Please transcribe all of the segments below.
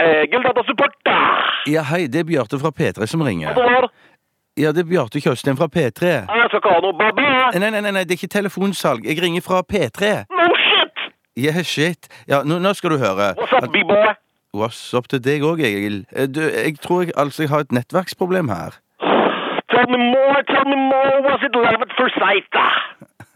Eh, Gulldatasupporter! Ja, hei, det er Bjarte fra P3 som ringer. Ja, det er Bjarte Tjøstheim fra P3. Jeg skal ikke ha noe babla! Nei, nei, nei, nei, det er ikke telefonsalg. Jeg ringer fra P3. No shit! Yeah, shit. Ja, nå, nå skal du høre. What's up, B-boy? What's up til deg òg, Egil. Eh, Du, jeg tror jeg, altså, jeg har et nettverksproblem her. Tell me more, tell me more, was it love at first sight? ah?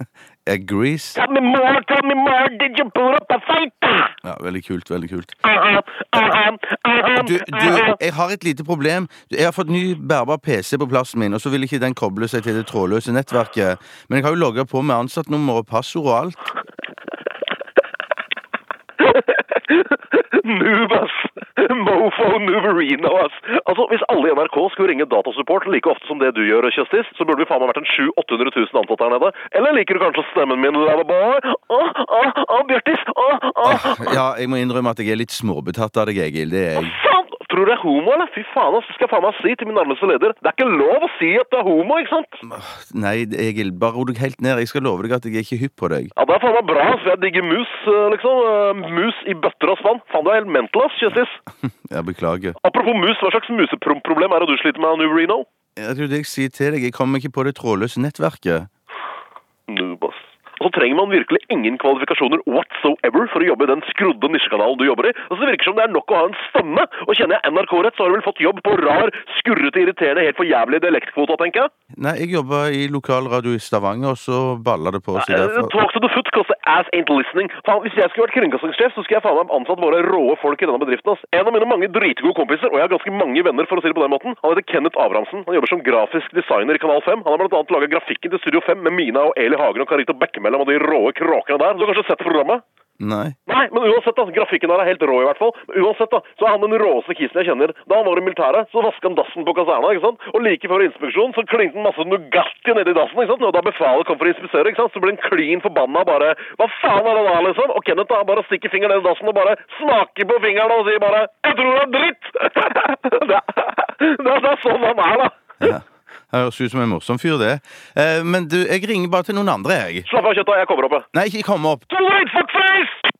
Eh, Agrees. Tell me more, tell me more, did you put up a fight? ah? Ja, veldig kult, veldig kult. Uh-huh, uh-huh, uh-huh, Du, du, uh-huh. jeg har et lite problem. Du, Jeg har fått ny bærbar PC på plassen min, og så vil ikke den koble seg til det trådløse nettverket. Men jeg har jo logga på med ansattnummer og passord og alt. Move, ass! Mofo Nuverino, ass! Altså, Hvis alle i NRK skulle ringe datasupport like ofte som det du gjør, Kjøstis, så burde vi faen meg vært en 700 800 000 ansatte her nede. Eller liker du kanskje stemmen min, Lavaboy? Å, å, å, Bjørtis! Å, å! Ja, jeg må innrømme at jeg er litt småbetatt av deg, Egil. Det er jeg. Faen! Tror du jeg er homo, eller? Fy faen, ass! Det skal jeg faen meg si til min nærmeste leder. Det er ikke lov å si at du er homo, ikke sant? Nei, Egil, bare ro deg helt ned. Jeg skal love deg at jeg er ikke hypp på deg. Ja, det er faen meg bra, ass. Jeg digger mus, eh, liksom. Eh, Mus i bøtter og spann. Faen, du er helt mental, ass, Kjøstis. Jeg beklager. Apropos mus, hva slags museproblem er det du sliter med, Nuverino? Jeg tror det jeg sier til deg, jeg kommer ikke på det trådløse nettverket. Nubas. Og så trenger man virkelig ingen kvalifikasjoner whatsoever for å jobbe i den skrudde nisjekanalen du jobber i. Og så det virker som det er nok å ha en stemme. Og kjenner jeg NRK rett, så har du vel fått jobb på rar, skurrete, irriterende, helt for jævlig dialektkvota, tenker jeg. Nei, jeg jobba i lokalradio i Stavanger, og så balla det på seg Eh, derfor. Talk to the foot, cause the ass ain't listening. Faen, hvis jeg skulle vært kringkastingssjef, så skulle jeg faen meg ansatt våre råe folk i denne bedriften. Ass. En av mine mange dritgode kompiser, og jeg har ganske mange venner, for å si det på den måten, han heter Kenneth Abrahamsen. Han jobber som grafisk designer i Kanal 5. Han har blant annet laga grafikken til Studio 5 med Mina og Eli Hagen og Carito Bekkemellom og de råe kråkene der. Du har kanskje sett programmet? Nei. Nei, men uansett da, grafikken her er helt rå i hvert fall. Men uansett da, så er han den råeste kisen jeg kjenner. Da han var i militæret, så vasket han dassen på kaserna, ikke sant? Og like før inspeksjonen, så klinte han masse Nugatti nede i dassen, ikke sant? Og da befalet kom for å inspisere, ikke sant? Så ble han klin forbanna og bare, hva faen er det da, liksom? Og Kenneth da, han bare stikker fingeren ned i dassen og bare snakker på fingeren og sier bare, jeg tror det er dritt! det, er- det, er- det er sånn han er da. Ja. Det høres ut som en morsom fyr, det. Eh, Men du, jeg ringer bare til noen andre, jeg. Slapp av kjøttet, jeg kommer opp, jeg. Nei, ikke kom opp. Too late, fuckface!